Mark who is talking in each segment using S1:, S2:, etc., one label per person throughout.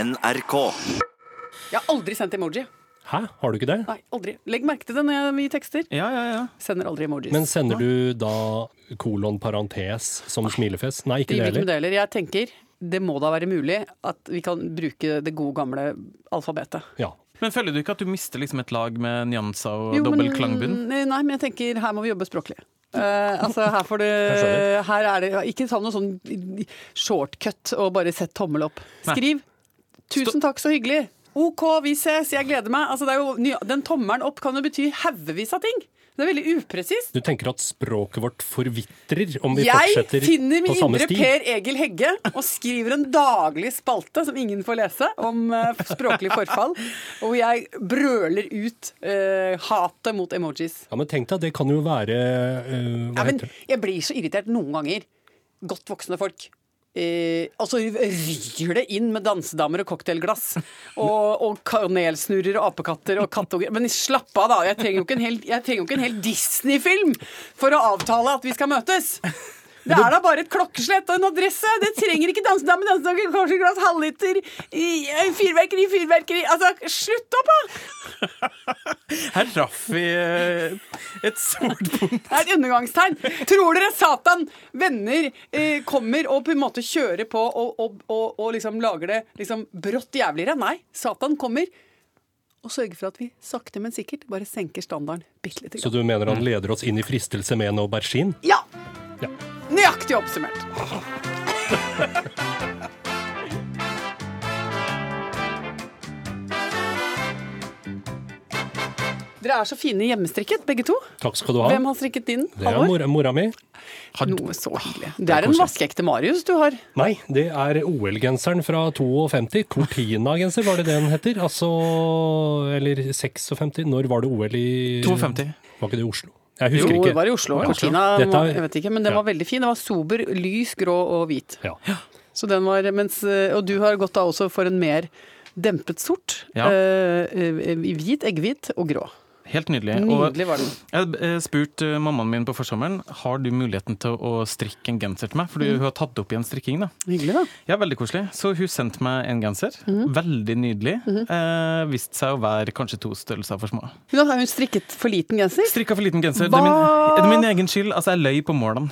S1: NRK.
S2: Jeg har aldri sendt emoji.
S3: Hæ, har du ikke det?
S2: Nei, aldri. Legg merke til det når jeg gir tekster.
S4: Ja, ja, ja.
S2: Sender aldri emojis.
S3: Men sender du da kolon parentes som smilefjes? Nei, ikke det
S2: Driver ikke med
S3: heller.
S2: det heller. Jeg tenker det må da være mulig at vi kan bruke det gode, gamle alfabetet.
S3: Ja.
S4: Men føler du ikke at du mister liksom et lag med nyanser og
S2: Jo,
S4: dobbel
S2: men-
S4: klangbunn?
S2: Nei, men jeg tenker her må vi jobbe språklig. Eh, altså her får du Her er det Ikke ta noe sånn shortcut og bare sett tommel opp.
S4: Nei.
S2: Skriv 'tusen takk, så hyggelig'. OK, vi ses, jeg gleder meg. Altså, det er jo, ny- den tommelen opp kan jo bety haugevis av ting. Det er veldig upresist.
S3: Du tenker at språket vårt forvitrer om vi
S2: Jeg
S3: fortsetter
S2: finner min
S3: på samme
S2: indre
S3: sti?
S2: Per Egil Hegge og skriver en daglig spalte som ingen får lese, om eh, språklig forfall. Og hvor jeg brøler ut eh, hatet mot emojis.
S3: Ja, men tenk deg, det kan jo være eh,
S2: Ja,
S3: Hva
S2: men
S3: heter det?
S2: jeg blir så irritert noen ganger. Godt voksne folk. Eh, og så ryr det inn med dansedamer og cocktailglass. Og, og kanelsnurrer og apekatter og kattunger. Men slapp av, da. Jeg trenger jo ikke en hel, jeg trenger jo ikke en hel Disney-film for å avtale at vi skal møtes. Det er da bare et klokkeslett og en adresse! Det trenger ikke dansedame, dansedamer, cocktailglass, halvliter, i- i- fyrverkeri, fyrverkeri Altså, slutt opp, da!
S4: Her traff vi eh, et stort punkt.
S2: Det er et undergangstegn. Tror dere Satan, venner, eh, kommer og på en måte kjører på og, og, og, og liksom lager det liksom brått jævligere? Nei, Satan kommer og sørger for at vi sakte, men sikkert bare senker standarden bitte lite
S3: Så
S2: grann.
S3: du mener han leder oss inn i fristelse med en aubergine?
S2: Ja!
S3: Ja.
S2: Nøyaktig oppsummert. Dere er så fine i hjemmestrikket, begge to.
S3: Takk skal du ha.
S2: Hvem har strikket din?
S3: Det er
S2: Halvor?
S3: mora, mora mi.
S2: Noe så hyggelig. Ah, Det er en vaskeekte Marius du har.
S3: Nei, det er OL-genseren fra 52. Cortina-genser, var det det den heter? Altså Eller 56? Når var det OL i
S4: 52.
S3: Var ikke det i Oslo? Jeg
S2: Jo,
S3: husker ikke.
S2: det var i Oslo.
S3: Det var i Oslo.
S2: Cortina,
S3: Dette er-
S2: jeg vet ikke, men den
S3: Ja.
S2: var veldig fin. Den var sober, lys, grå og hvit.
S3: Ja.
S2: Så den var, mens, eh, og du har gått da også for en mer dempet sort.
S4: Ja.
S2: Eh, eh, hvit, egghvit og grå.
S4: Helt nydelig. Og
S2: Nydelig var den.
S4: jeg eh, spurte eh, mammaen min på forsommeren har du muligheten til å strikke en genser til meg, fordi hun har tatt opp igjen strikking. da.
S2: Hyggelig, da.
S4: Ja, veldig koselig. Så hun sendte meg en genser.
S2: Mhm.
S4: Veldig nydelig. eh, Viste seg å være kanskje to størrelser for små.
S2: Hun har hun strikket for liten genser.
S4: Strikka for liten genser. Det er, min,
S2: Hva?
S4: det er min egen skyld. Altså, jeg løy på målene.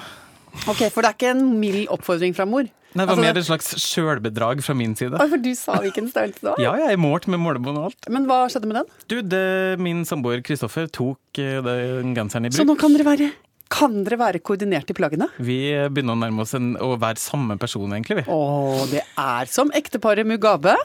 S2: Ok, For det er ikke en mild oppfordring fra mor?
S4: Nei, det var
S2: Altså,
S4: mer
S2: det-
S4: et slags sjølbedrag fra min side.
S2: Oi, for du sa hvilken størrelse det var?
S4: Ja, jeg er målt med målebånd og alt.
S2: Men hva skjedde med den?
S4: Du, det, min samboer Kristoffer tok eh, den genseren i
S2: Så
S4: bruk.
S2: nå kan dere være Kan dere være koordinert i plaggene?
S4: Vi begynner å nærme oss en, å være samme person, egentlig. vi.
S2: Å, det er som ekteparet Mugabe.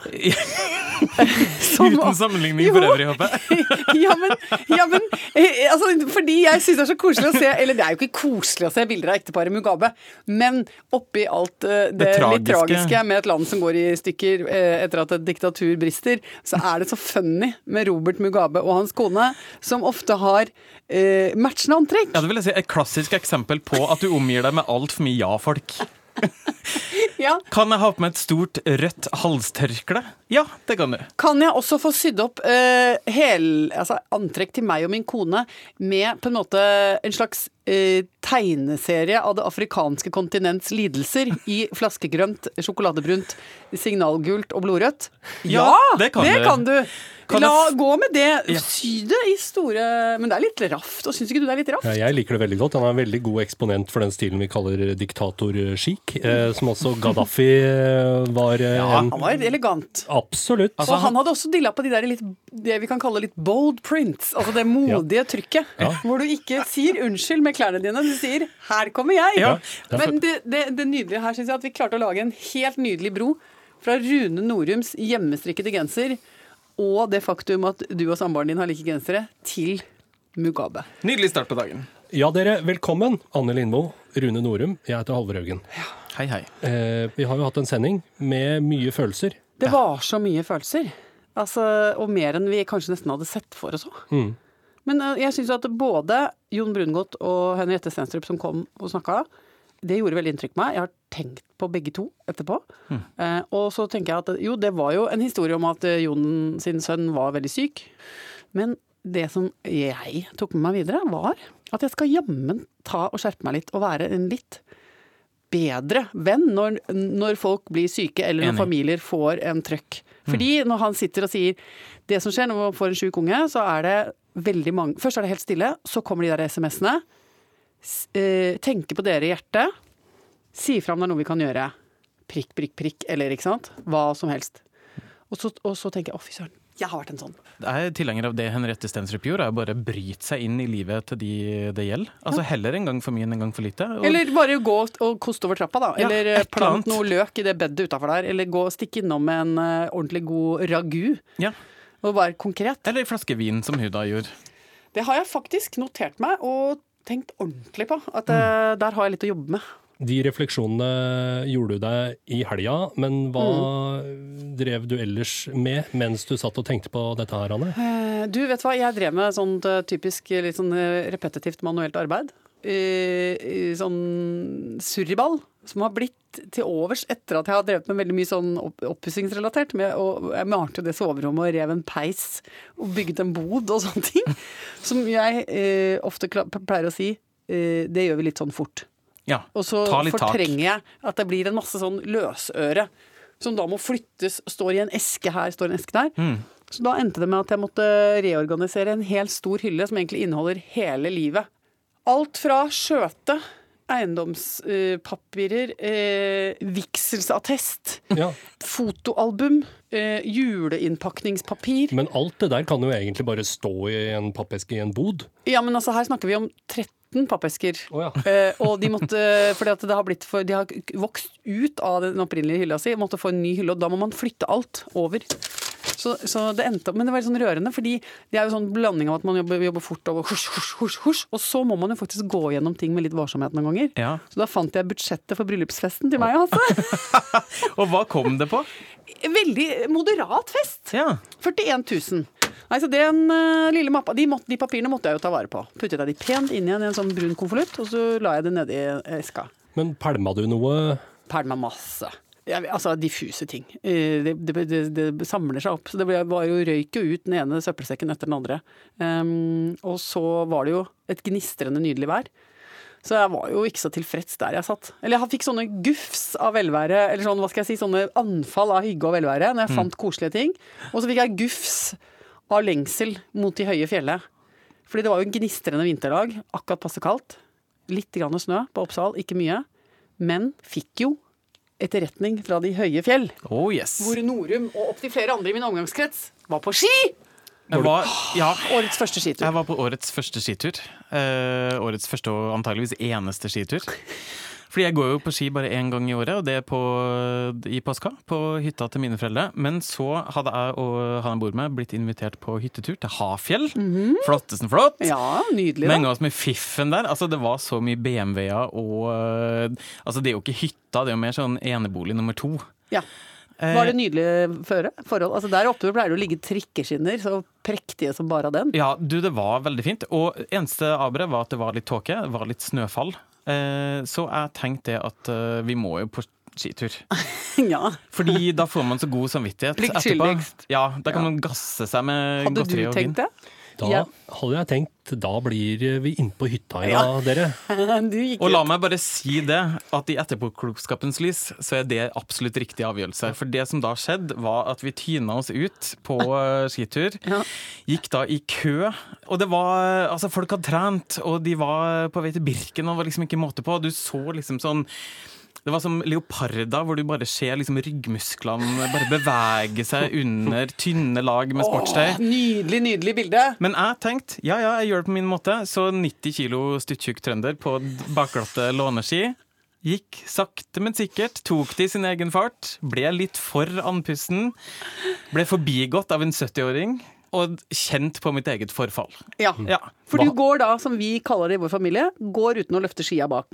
S2: Som-
S4: Uten sammenligning for
S2: Jo.
S4: øvrig, håper jeg.
S2: ja, men, ja, men eh, altså, Fordi jeg syns det er så koselig å se Eller det er jo ikke koselig å se bilder av ekteparet Mugabe, men oppi alt eh, det,
S4: Det
S2: litt
S4: tragiske.
S2: tragiske med et land som går i stykker eh, etter at et diktatur brister, så er det så funny med Robert Mugabe og hans kone, som ofte har eh, matchende antrekk.
S4: Ja, det vil jeg si Et klassisk eksempel på at du omgir deg med altfor mye ja-folk.
S2: Ja.
S4: Kan jeg ha på meg et stort rødt halstørkle? Ja, det kan du.
S2: Kan jeg også få sydd opp eh, hel, altså, antrekk til meg og min kone med på en måte en slags eh, tegneserie av det afrikanske kontinents lidelser i flaskegrønt, sjokoladebrunt, signalgult og blodrødt?
S4: Ja, det kan du. Kan
S2: La
S4: jeg f-
S2: gå med det.
S4: Ja.
S2: Sy det i store Men det er litt raft, og syns ikke du det er litt raft?
S3: Ja, Jeg liker det veldig godt. Han er en veldig god eksponent for den stilen vi kaller diktator-chic, eh, som også Gaddafi eh, var eh, en
S2: Han var elegant.
S3: Absolutt.
S2: og Altså, han hadde også dilla på de der litt, det vi kan kalle litt bold prints, altså det modige trykket. Hvor du ikke sier unnskyld med klærne dine, du sier 'her kommer jeg'.
S4: Ja,
S2: Men det, det, det nydelige her syns jeg at vi klarte å lage en helt nydelig bro fra Rune Norums hjemmestrikkede genser og det faktum at du og samboeren din har like gensere, til Mugabe.
S4: Nydelig start på dagen.
S3: Ja, dere, velkommen. Anne Lindmo, Rune Norum, jeg heter Halvor Haugen.
S4: Hei, hei.
S3: Eh, vi har jo hatt en sending med mye følelser.
S2: Det var så mye følelser. Altså, og mer enn vi kanskje nesten hadde sett for oss òg. Men eh, jeg syns at både Jon Brungot og Henriette Stenstrup som kom og snakka, det gjorde veldig inntrykk på meg. Jeg har tenkt på begge to etterpå. Eh, og så tenker jeg at jo, det var jo en historie om at eh, Jon sin sønn var veldig syk. Men det som jeg tok med meg videre, var at jeg skal jammen ta og skjerpe meg litt og være en litt bedre venn når, når folk blir syke, eller når
S4: Enig. Mm.
S2: familier får en trøkk. Fordi når han sitter og sier det som skjer når man får en sjuk unge, så er det veldig mange Først er det helt stille, så kommer de der SMS-ene. S- eh, Tenke på dere i hjertet. Si fra om det er noe vi kan gjøre. Prikk, prikk, prikk, eller ikke sant? Hva som helst. Og så, og så tenker jeg å, fy søren, jeg har vært en sånn.
S4: Jeg er tilhenger av det Henriette Stensrup gjorde, er bare bryte seg inn i livet til de det gjelder. Altså heller en gang for mye enn en gang for lite. Og
S2: Eller bare gå og koste over trappa, da.
S4: Ja,
S2: Eller
S4: et eller
S2: plant
S4: annet.
S2: noe løk i det bedet utafor der. Eller gå og stikke innom med en eh, ordentlig god ragu.
S4: Ja.
S2: Og være konkret.
S4: Eller en flaske vin, som hun da gjorde.
S2: Det har jeg faktisk notert meg og tenkt ordentlig på. At eh, der har jeg litt å jobbe med.
S3: De refleksjonene gjorde du deg i helga, men hva drev du ellers med mens du satt og tenkte på dette her, Anne?
S2: Eh, Du, vet du hva, jeg drev med sånt eh, typisk eh, litt sånn eh, repetitivt manuelt arbeid. Eh, eh, Sånn surriball, som har blitt til overs etter at jeg har drevet med veldig mye sånn opp- oppussingsrelatert. med- og Jeg malte det soverommet og rev en peis og bygget en bod og sånne ting. Som jeg eh, ofte kla- pleier å si, eh, det gjør vi litt sånn fort.
S4: Ja.
S2: Og så
S4: Ta litt tak.
S2: fortrenger jeg at det blir en masse sånn løsøre som da må flyttes. Står i en eske her, står i en eske der.
S4: Mm.
S2: Så da endte det med at jeg måtte reorganisere en hel stor hylle som egentlig inneholder hele livet. Alt fra skjøte, eiendomspapirer, eh, vigselsattest,
S3: Ja.
S2: fotoalbum, eh, juleinnpakningspapir
S3: Men alt det der kan jo egentlig bare stå i en pappeske i en bod.
S2: Ja, men altså, her snakker vi om 13 pappesker.
S3: Å ja.
S2: Eh, og de måtte, fordi at det har blitt for, de har vokst ut av den opprinnelige hylla si, måtte få en ny hylle, og da må man flytte alt over. Så, så det endte opp, Men det var litt sånn rørende, fordi det er jo sånn blanding av at man jobber, jobber fort og husj, husj, husj, husj, og så må man jo faktisk gå gjennom ting med litt varsomhet noen ganger.
S4: Ja.
S2: Så da fant jeg budsjettet for bryllupsfesten til meg, altså.
S4: Og hva kom det på?
S2: Veldig moderat fest.
S4: Ja.
S2: 41 000. Nei, så den eh, lille mappa, de, måtte, de papirene måtte jeg jo ta vare på. Puttet jeg de pent inn igjen i en sånn brun konvolutt, og så la jeg det nedi eska.
S3: Men pælma du noe?
S2: pælma masse. Jeg, vet- altså diffuse ting. Eh, Det, det, det, det samler seg opp. Så det ble, var jo røyk jo ut den ene søppelsekken etter den andre. Ehm, og så var det jo et gnistrende nydelig vær. Så jeg var jo ikke så tilfreds der jeg satt. Eller jeg fikk sånne gufs av velvære, eller sånn, hva skal jeg si, sånne anfall av hygge og velvære når jeg fant koselige ting. Og så fikk jeg gufs av lengsel mot de høye fjellet. Fordi det var jo en gnistrende vinterdag, akkurat passe kaldt. Litt grann snø på Oppsal, ikke mye. Men fikk jo etterretning fra de høye fjell,
S4: Oh yes.
S2: hvor Norum og opptil flere andre i min omgangskrets var på ski!
S4: Jeg var, ja.
S2: Årets første skitur.
S4: Jeg var på årets første skitur. Eh, årets første og antageligvis eneste skitur. Fordi jeg går jo på ski bare én gang i året, og det er på, i påska. På hytta til mine foreldre. Men så hadde jeg og han jeg bor med, blitt invitert på hyttetur til Hafjell. Flottesen flott.
S2: Mhm. Ja, nydelig. da.
S4: Menga oss med fiffen der. Altså, det var så mye BMW-er og eh, Altså, det er jo ikke hytta, det er jo mer sånn enebolig nummer to.
S2: Ja.
S4: Eh.
S2: Var det nydelig føre? Forhold? Altså Der oppe pleier det å ligge trikkeskinner, så prektige som bare den.
S4: Ja, du, det var veldig fint. Og eneste aberet var at det var litt tåke, det var litt snøfall. Eh, så jeg tenkte det at eh, vi må jo på skitur.
S2: Ja.
S4: Fordi da får man så god samvittighet
S2: Plikt
S4: etterpå.
S2: skyldigst.
S4: Ja, da kan man gasse seg med
S2: Hadde du
S4: godteri og vin.
S2: tenkt det?
S3: Da
S2: Ja.
S3: hadde jeg tenkt da blir vi innpå hytta i dag,
S2: Ja.
S3: dere.
S2: Du gikk
S4: Og la meg bare si det, at i etterpåklokskapens lys så er det absolutt riktig avgjørelse. For det som da skjedde, var at vi tyna oss ut på eh, skitur. Gikk da i kø. Og det var Altså, folk hadde trent, og de var på vei til Birken, og var liksom ikke måte på. Du så liksom sånn det var som leoparder, hvor du bare ser liksom ryggmusklene bare bevege seg under tynne lag med sportstøy.
S2: Åh, Nydelig, nydelig bilde.
S4: Men jeg tenkte ja, ja, jeg gjør det på min måte. Så 90 kilo stuttjukk trønder på d- bakglatte låneski. Gikk sakte, men sikkert. Tok det i sin egen fart. Ble litt for andpusten. Ble forbigått av en 70-åring. Og kjent på mitt eget forfall.
S2: Ja.
S4: Ja.
S2: For du går da, som vi kaller det i vår familie, går uten å løfte skia bak.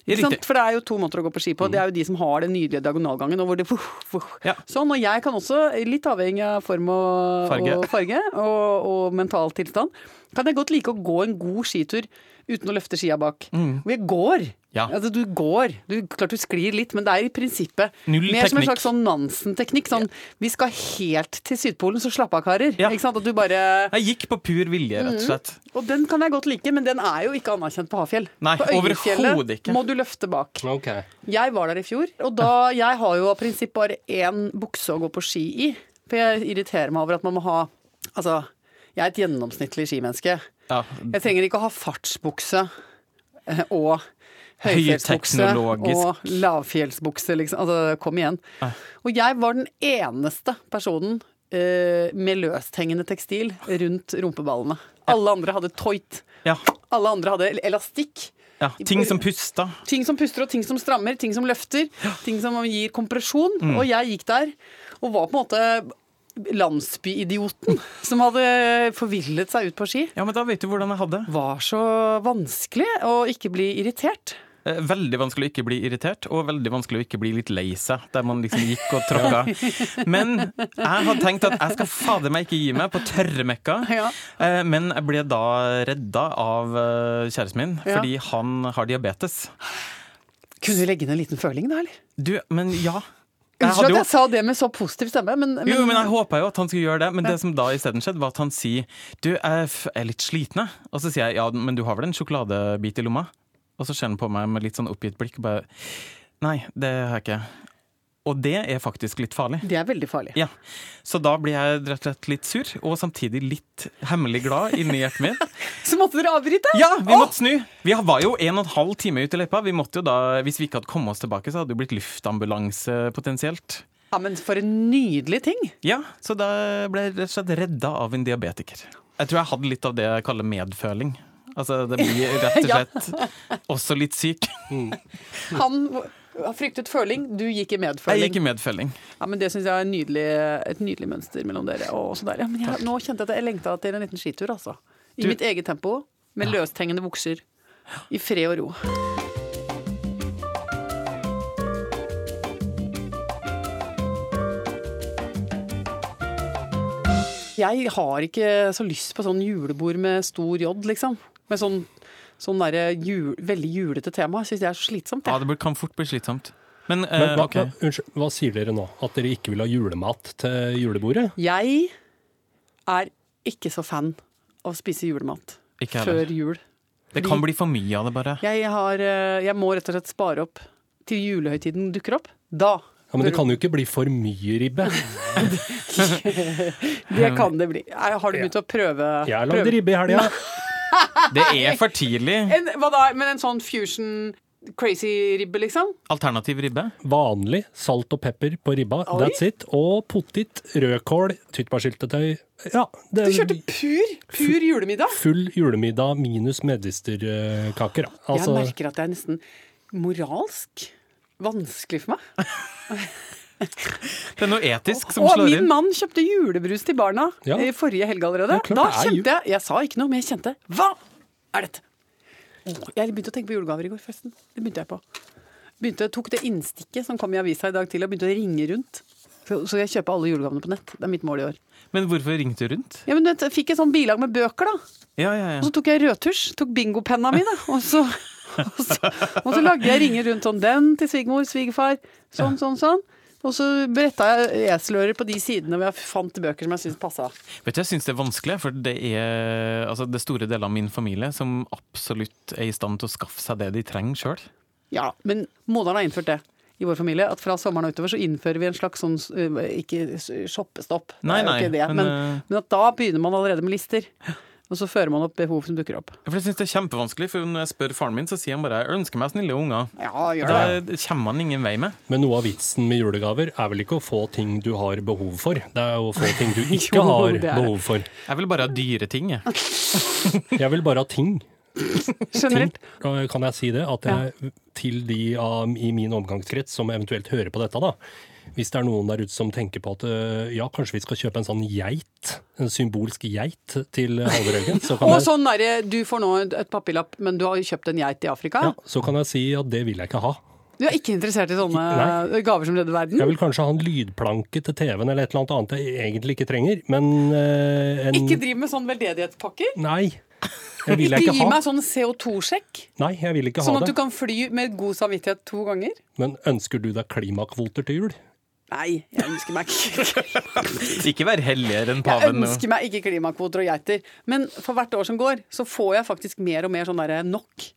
S2: Ikke
S4: Riktig. Mm.
S2: sant? For det er jo to måter å gå på ski på. Det er jo de som har den nydelige diagonalgangen. Og hvor det, vuff, vuff.
S4: Ja.
S2: Sånn, og jeg kan også, litt avhengig av form og
S4: Farge.
S2: og, farge, og, og mental tilstand, kan jeg godt like å gå en god skitur uten å løfte skia bak. Og jeg går.
S4: Mm. Ja.
S2: Altså, du går. Du, klart du sklir litt, men det er i prinsippet
S4: Null
S2: mer som en
S4: teknikk.
S2: slags sånn Nansen-teknikk. Sånn, vi skal helt til Sydpolen, så slapp av, karer.
S4: Ja.
S2: Ikke sant? At du bare
S4: Jeg gikk på pur vilje, rett og slett.
S2: Og den kan jeg godt like, men den er jo ikke anerkjent på Hafjell.
S4: Nei,
S2: på Øyfjellet
S4: overhodet ikke.
S2: må du løfte bak.
S3: Ok.
S2: Jeg var der i fjor, og da Jeg har jo av prinsipp bare én bukse å gå på ski i. For jeg irriterer meg over at man må ha Altså, jeg er et gjennomsnittlig skimenneske.
S4: Ja.
S2: Jeg trenger ikke å ha fartsbukse eh, og høyfjellsbukse og
S4: Høyteknologisk.
S2: lavfjellsbukse, liksom. Altså, kom igjen. Og jeg var den eneste personen eh, med løsthengende tekstil rundt rumpeballene. Alle andre hadde toit.
S4: Ja.
S2: Alle andre hadde elastikk.
S4: ja. Ting som pusta.
S2: Ting som puster og ting som strammer, ting som løfter, ting som gir kompresjon.
S4: Mm.
S2: Og jeg gikk der og var på en måte landsbyidioten som hadde forvillet seg ut på ski.
S4: Ja, men da vet du hvordan jeg hadde det.
S2: Var så vanskelig å ikke bli irritert.
S4: Eh, Veldig vanskelig å ikke bli irritert, og veldig vanskelig å ikke bli litt lei seg, der man liksom gikk og tråkka. Men jeg hadde tenkt at jeg skal fader meg ikke gi meg på tørrmekka.
S2: Ja.
S4: Eh, Men jeg ble da redda av eh, kjæresten min,
S2: Ja.
S4: fordi han har diabetes.
S2: Kunne vi legge inn en liten føling da, eller?
S4: Du, men ja. Jeg
S2: Unnskyld
S4: hadde
S2: at
S4: jo
S2: jeg sa det med så positiv stemme, men, men,
S4: Jo, men jeg håpa jo at han skulle gjøre det, men det som da isteden skjedde, var at han sier Du, jeg f- er litt sliten, jeg. Og så sier jeg ja, men du har vel en sjokoladebit i lomma? Og så ser han på meg med litt sånn oppgitt blikk og bare Nei, det har jeg ikke. Og det er faktisk litt farlig.
S2: det er veldig farlig.
S4: Ja, Så da blir jeg rett og slett litt sur, og samtidig litt hemmelig glad inni hjertet mitt.
S2: Så måtte dere avbryte!
S4: Ja, vi måtte snu! Vi var jo en og en halv time ute i løypa. Vi måtte jo da, hvis vi ikke hadde kommet oss tilbake, så hadde det jo blitt luftambulanse potensielt.
S2: ja, men for en nydelig ting!
S4: Ja, så da ble jeg rett og slett redda av en diabetiker. Jeg tror jeg hadde litt av det jeg kaller medføling. Altså, det blir rett og
S2: Ja.
S4: slett også litt syk.
S2: Han fryktet føling, du gikk i
S4: Mm. Jeg
S2: medføling.
S4: gikk i medføling.
S2: Ja, men Det syns jeg er en nydelig, et nydelig mønster mellom dere. Og også der. Ja, men jeg, nå kjente jeg at jeg lengta til en liten skitur, altså. I
S4: Du-
S2: mitt eget tempo, med løsthengende bukser. I fred og ro. Jeg har ikke så lyst på sånn julebord med stor J, liksom. Med sånn, sånn derre jul, veldig julete tema. Syns jeg er så slitsomt.
S4: Ja,
S2: Jeg.
S4: det blir- kan fort bli slitsomt. Men, eh,
S3: Men hva,
S4: ok.
S3: hva, unnskyld, hva sier dere nå? At dere ikke vil ha julemat til julebordet?
S2: Jeg er ikke så fan av å spise julemat
S4: Ikke jeg
S2: før
S4: heller.
S2: jul.
S4: Det kan bli for mye av det, bare.
S2: Jeg, har, eh, jeg må rett og slett spare opp til julehøytiden dukker opp. Da.
S3: Ja, men det kan jo ikke bli for mye ribbe.
S2: Det kan det bli. Jeg har du begynt å prøve?
S3: Jeg
S2: prøve-
S3: lagde ribbe i helga.
S4: Det er for tidlig.
S2: En, hva da? Men en sånn fusion crazy ribbe, liksom?
S4: Alternativ ribbe.
S3: Vanlig salt og pepper på ribba,
S2: Oi.
S3: that's it. Og potet, rødkål, tyttbærsyltetøy. Ja, det
S2: Du kjørte pur, pur julemiddag?
S3: full julemiddag minus medisterkaker.
S2: Jeg
S3: da. Altså,
S2: merker at det er nesten moralsk vanskelig for meg.
S4: Det er noe etisk som
S2: Og
S4: slår
S2: min
S4: inn.
S2: mann kjøpte julebrus til barna
S3: Ja.
S2: eh, forrige helg allerede.
S3: Ja, klart
S2: da
S3: det er jul.
S2: kjente jeg Jeg sa ikke noe, men jeg kjente Hva er dette? Åh, Jeg begynte å tenke på julegaver i går, forresten. Det begynte jeg på. Begynte, tok det innstikket som kom i avisa i dag til, og begynte å ringe rundt. Så så jeg kjøper alle julegavene på nett. Det er mitt mål i år.
S4: Men hvorfor ringte du rundt?
S2: Ja, men du vet, jeg fikk et sånn bilag med bøker, da.
S4: Ja, ja,
S2: Og
S4: ja.
S2: så tok jeg rødtusj. Tok bingopenna mi, da. Og så, og så, og så lagde jeg ringer rundt sånn. Den til svigermor, svigerfar. Sånn, sånn, sånn. Og så bretta jeg eselører på de sidene hvor jeg fant bøker som jeg syntes passa.
S4: Vet du, Jeg syns det er vanskelig, for det er altså, det er store deler av min familie som absolutt er i stand til å skaffe seg det de trenger sjøl.
S2: Ja, men moderen har innført det i vår familie. At fra sommeren og utover så innfører vi en slags sånn øh, Ikke s- shoppestopp, Det er
S4: Nei,
S2: jo
S4: nei,
S2: ikke det,
S4: men,
S2: men,
S4: øh,
S2: men at da begynner man allerede med lister. Og så fører man opp behov som dukker opp.
S4: For jeg synes det er kjempevanskelig, for når jeg spør faren min, så sier han bare 'jeg ønsker meg snille unger'.
S2: Ja, gjør det.
S4: Da kommer han ingen vei med.
S3: men noe av vitsen med julegaver er vel ikke å få ting du har behov for. Det er å få ting du ikke
S2: Jo,
S3: har
S2: det er det.
S3: behov for.
S4: Jeg vil bare ha dyre ting, jeg.
S3: Jeg vil bare ha ting. ting.
S2: Generelt.
S3: Kan kan jeg si det? At jeg, til de av, i min omgangskrets som eventuelt hører på dette, da. Hvis det er noen der ute som tenker på at øh, ja, kanskje vi skal kjøpe en sånn geit, en symbolsk geit til Halvor-Haugen, så kan
S2: Og
S3: jeg
S2: sånn derre du får nå et- et papirlapp, men du har jo kjøpt en geit i Afrika.
S3: Ja, så kan jeg si at det vil jeg ikke ha.
S2: Du er ikke interessert i sånne
S3: Nei.
S2: gaver som redder verden?
S3: Jeg vil kanskje ha en lydplanke til TV-en eller et eller annet annet jeg egentlig ikke trenger, men eh, en
S2: Ikke driv med sånn veldedighetspakker?
S3: Nei. Jeg vil jeg
S2: Ikke
S3: ikke
S2: gi
S3: ha.
S2: meg sånn CO2-sjekk,
S3: Nei, jeg vil ikke ha
S2: sånn at du
S3: det.
S2: kan fly med god samvittighet to ganger.
S3: Men ønsker du deg klimakvoter til jul?
S2: Nei, jeg ønsker meg ikke
S4: Ikke vær helligere enn
S2: Jeg
S4: paven. nå.
S2: ønsker meg ikke klimakvoter og geiter. Men for hvert år som går, så får jeg faktisk mer og mer sånn derre nok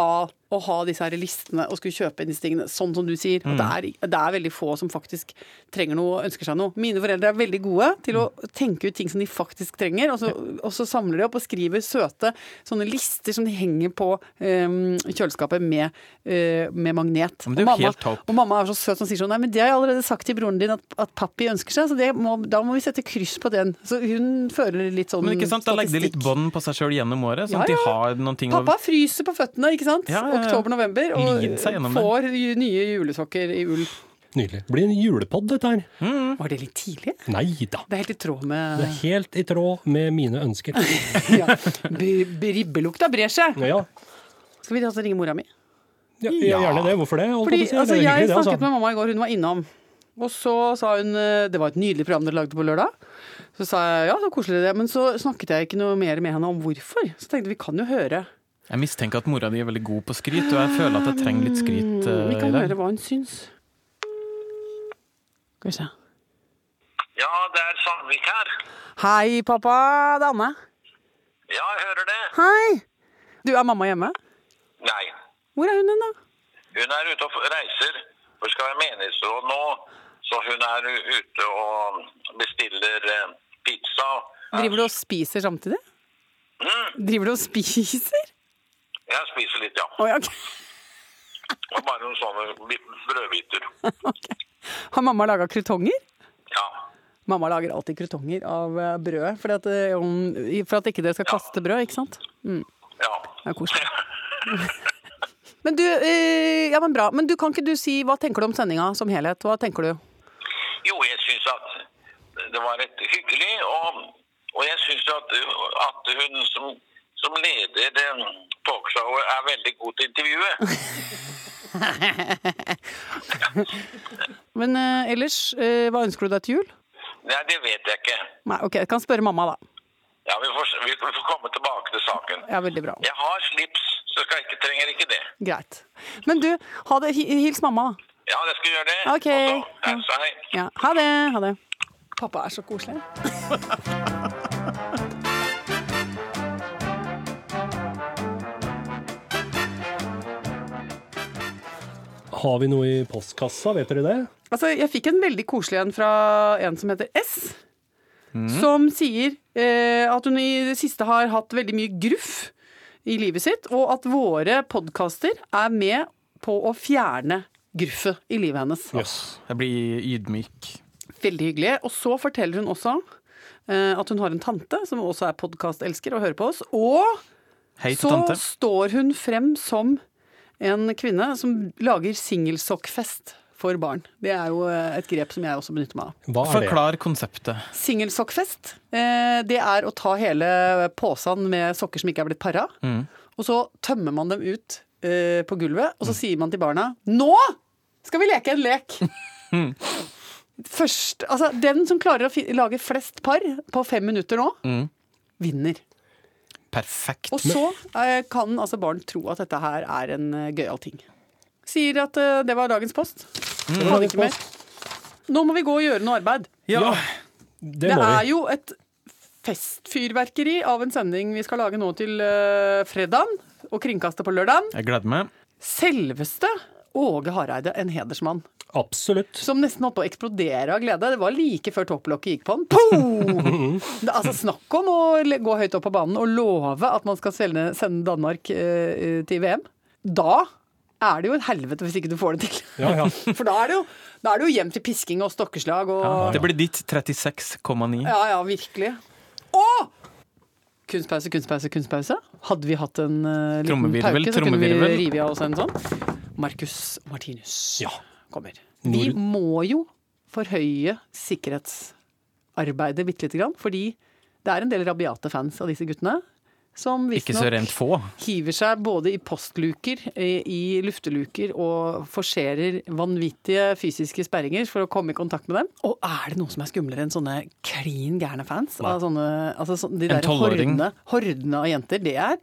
S2: av å ha disse her listene og skulle kjøpe disse tingene. Sånn som du sier. At
S4: Mm.
S2: det, er, det er veldig få som faktisk trenger noe, ønsker seg noe. Mine foreldre er veldig gode til å tenke ut ting som de faktisk trenger, og så, og så samler de opp og skriver søte sånne lister som de henger på eh, kjøleskapet med, eh, med magnet.
S4: Men det er jo
S2: Og mamma-
S4: helt topp.
S2: og mamma er så søt som sier sånn Nei, men det har jeg allerede sagt til broren din at, at pappi ønsker seg, så det må, da må vi sette kryss på den. Så hun føler litt sånn
S4: Men ikke sant, Da legger de litt
S2: statistikk.
S4: bånd på seg sjøl gjennom året,
S2: Ja,
S4: sånn at de
S2: ja.
S4: har noen ting å
S2: Pappa fryser på føttene, ikke sant?
S4: Ja, ja, ja.
S2: Oktober-november. Og
S4: Lid seg gjennom det.
S2: får ju- nye julesokker i ull.
S3: Nydelig. Det blir en julepod, dette her.
S2: Var det litt tidlig?
S3: Nei da.
S2: Det er helt i tråd
S3: Det er
S2: med
S3: helt i tråd med mine ønsker.
S2: ja. B- b- Ribbelukta brer seg!
S3: Ja,
S2: Skal vi altså ringe mora mi?
S3: ja, ja gjerne det. Hvorfor det? Holdt
S2: Fordi
S3: på å si.
S2: altså,
S3: det er
S2: Jeg
S3: hyggelig, det,
S2: snakket med
S3: altså.
S2: mamma i går, hun var innom. Og så sa hun eh, Det var et nydelig program dere lagde på lørdag. Så sa jeg ja, så koselig det. Men så snakket jeg ikke noe mer med henne om hvorfor. Så tenkte jeg, vi kan jo høre.
S4: Jeg mistenker at mora di er veldig god på skryt, og jeg føler at jeg trenger litt skryt. eh,
S2: Mm, Vi
S4: i
S2: kan
S4: dag.
S2: høre hva hun syns. Skal vi se.
S1: Ja, det er Sandvik her.
S2: Hei, pappa. Det er Anne.
S1: Ja, jeg hører det.
S2: Hei. Du, er mamma hjemme?
S1: Nei,
S2: Hvor er hun hen, da?
S1: hun er ute og f- reiser. Hun skal være menighetsråd nå, så hun er u- ute og bestiller eh, pizza.
S2: Driver du og spiser samtidig?
S1: Mm,
S2: Driver du og spiser?
S1: jeg spiser litt, ja.
S2: Å, ja, ok.
S1: Og bare noen sånne bi- brødbiter.
S2: ok. Har mamma laga krutonger?
S1: Ja.
S2: Mamma lager alltid krutonger av eh, brødet, for at, eh, om- for at ikke dere skal kaste brød, ikke sant?
S1: ja.
S2: Det er koselig. Men du, eh, ja, men bra. Men du, kan ikke du si, hva tenker du om sendinga som helhet? Hva tenker du?
S1: Jo, jeg syns at det var et hyggelig, og, og jeg syns at, at hun som, som leder eh, talkshowet er veldig god til intervjuet.
S2: Men eh, ellers, eh, hva ønsker du deg til jul?
S1: Nei, det vet jeg ikke.
S2: Nei, ok, jeg kan spørre mamma da.
S1: Ja, vi får, vi får komme tilbake til saken.
S2: Ja, veldig bra.
S1: Jeg har slips, så skal jeg ikke, trenger ikke det.
S2: Greit. Men du, ha det, hi- hils mamma da.
S1: Ja, jeg skal gjøre det.
S2: Ok.
S1: Og så, hei, så hei.
S2: Ja, ha det, ha det. Pappa er så koselig.
S3: Har vi noe i postkassa, vet dere det?
S2: Altså, jeg fikk en veldig koselig en fra en som heter S.
S4: Mhm.
S2: Som sier eh, at hun i det siste har hatt veldig mye gruff i livet sitt, og at våre podkaster er med på å fjerne gruffet i livet hennes.
S3: Jøss.
S4: Jeg blir ydmyk.
S2: Veldig hyggelig. Og så forteller hun også eh, at hun har en tante som også er podkastelsker og hører på oss. Og
S4: Hei til
S2: så
S4: tante.
S2: står hun frem som en kvinne som lager singelsokkfest for barn. Det er jo eh, et grep som jeg også benytter meg av.
S3: Hva er det?
S4: Forklar konseptet.
S2: Singelsokkfest, eh, det er å ta hele posen med sokker som ikke er blitt para, og så tømmer man dem ut eh, på gulvet, og så sier man til barna Nå skal vi leke en lek! Først, altså, den som klarer å fi lage flest par på fem minutter nå, vinner.
S4: Perfekt.
S2: Og så eh, kan altså barn tro at dette her er en eh, gøyal ting. Sier at eh, det var dagens post. Hadde ikke mer. Nå må vi gå og gjøre noe arbeid.
S4: Ja,
S3: Det
S2: Det
S3: må
S2: er
S3: vi.
S2: jo et festfyrverkeri av en sending vi skal lage nå til uh, fredagen, og kringkaste på lørdagen.
S4: jeg gleder meg.
S2: Selveste Åge Hareide, en hedersmann,
S3: Absolutt.
S2: som nesten holdt på å eksplodere av glede. Det var like før topplokket gikk på han. Poo! Det, altså, snakk om å le- gå høyt opp på banen og love at man skal selge, sende Danmark eh, til VM. Da er det jo et helvete hvis ikke du får det til.
S3: Ja, ja.
S2: For da er det jo, da er det jo hjem til pisking og stokkeslag og
S4: Det blir ditt 36,9.
S2: Ja, ja, virkelig. Å! Kunstpause, kunstpause, kunstpause. Hadde vi hatt en eh, liten
S4: Trommevirvel,
S2: pauke, så kunne vi
S4: trommevirvel.
S2: rive av oss en sånn. Marcus Martinus
S3: Ja.
S2: kommer. Vi
S3: Nord-
S2: må jo forhøye sikkerhetsarbeidet bitte lite grann, fordi det er en del rabiate fans av disse guttene. som
S4: Ikke så rent
S2: visstnok
S4: få.
S2: hiver seg både i postluker, eh, i lufteluker og forserer vanvittige fysiske sperringer for å komme i kontakt med dem. Og er det noe som er skumlere enn sånne klin gærne fans? Av sånne, altså sånn- de
S4: En
S2: der
S4: tolvåring.
S2: hordene, hordene av jenter. Det er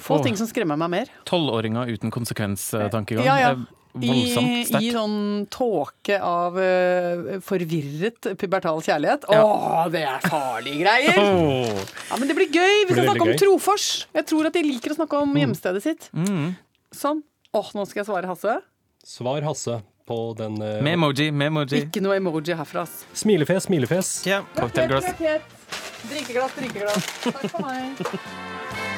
S2: få
S4: Åh.
S2: ting som skremmer meg mer.
S4: Tolvåringer uten konsekvenstankegang.
S2: Ja, ja.
S4: Det er
S2: I,
S4: voldsomt
S2: I
S4: sterkt.
S2: sånn tåke av eh, forvirret pubertal kjærlighet. Åh, det er farlige greier!
S4: Åh.
S2: Ja, men det blir gøy! Vi
S3: Blir
S2: skal
S3: veldig
S2: snakke om
S3: gøy. Mm.
S2: Trofors. Jeg tror at de liker å snakke om hjemstedet sitt. Sånn. Åh, nå skal jeg svare Hasse.
S3: Svar Hasse på den eh,
S4: Med emoji, med emoji.
S2: Ikke noe emoji herfra. ass.
S3: Smilefjes, smilefjes.
S4: Ja, cocktailglass.
S2: Rakett, rakett. Drikkeglass, drikkeglass. Takk for meg.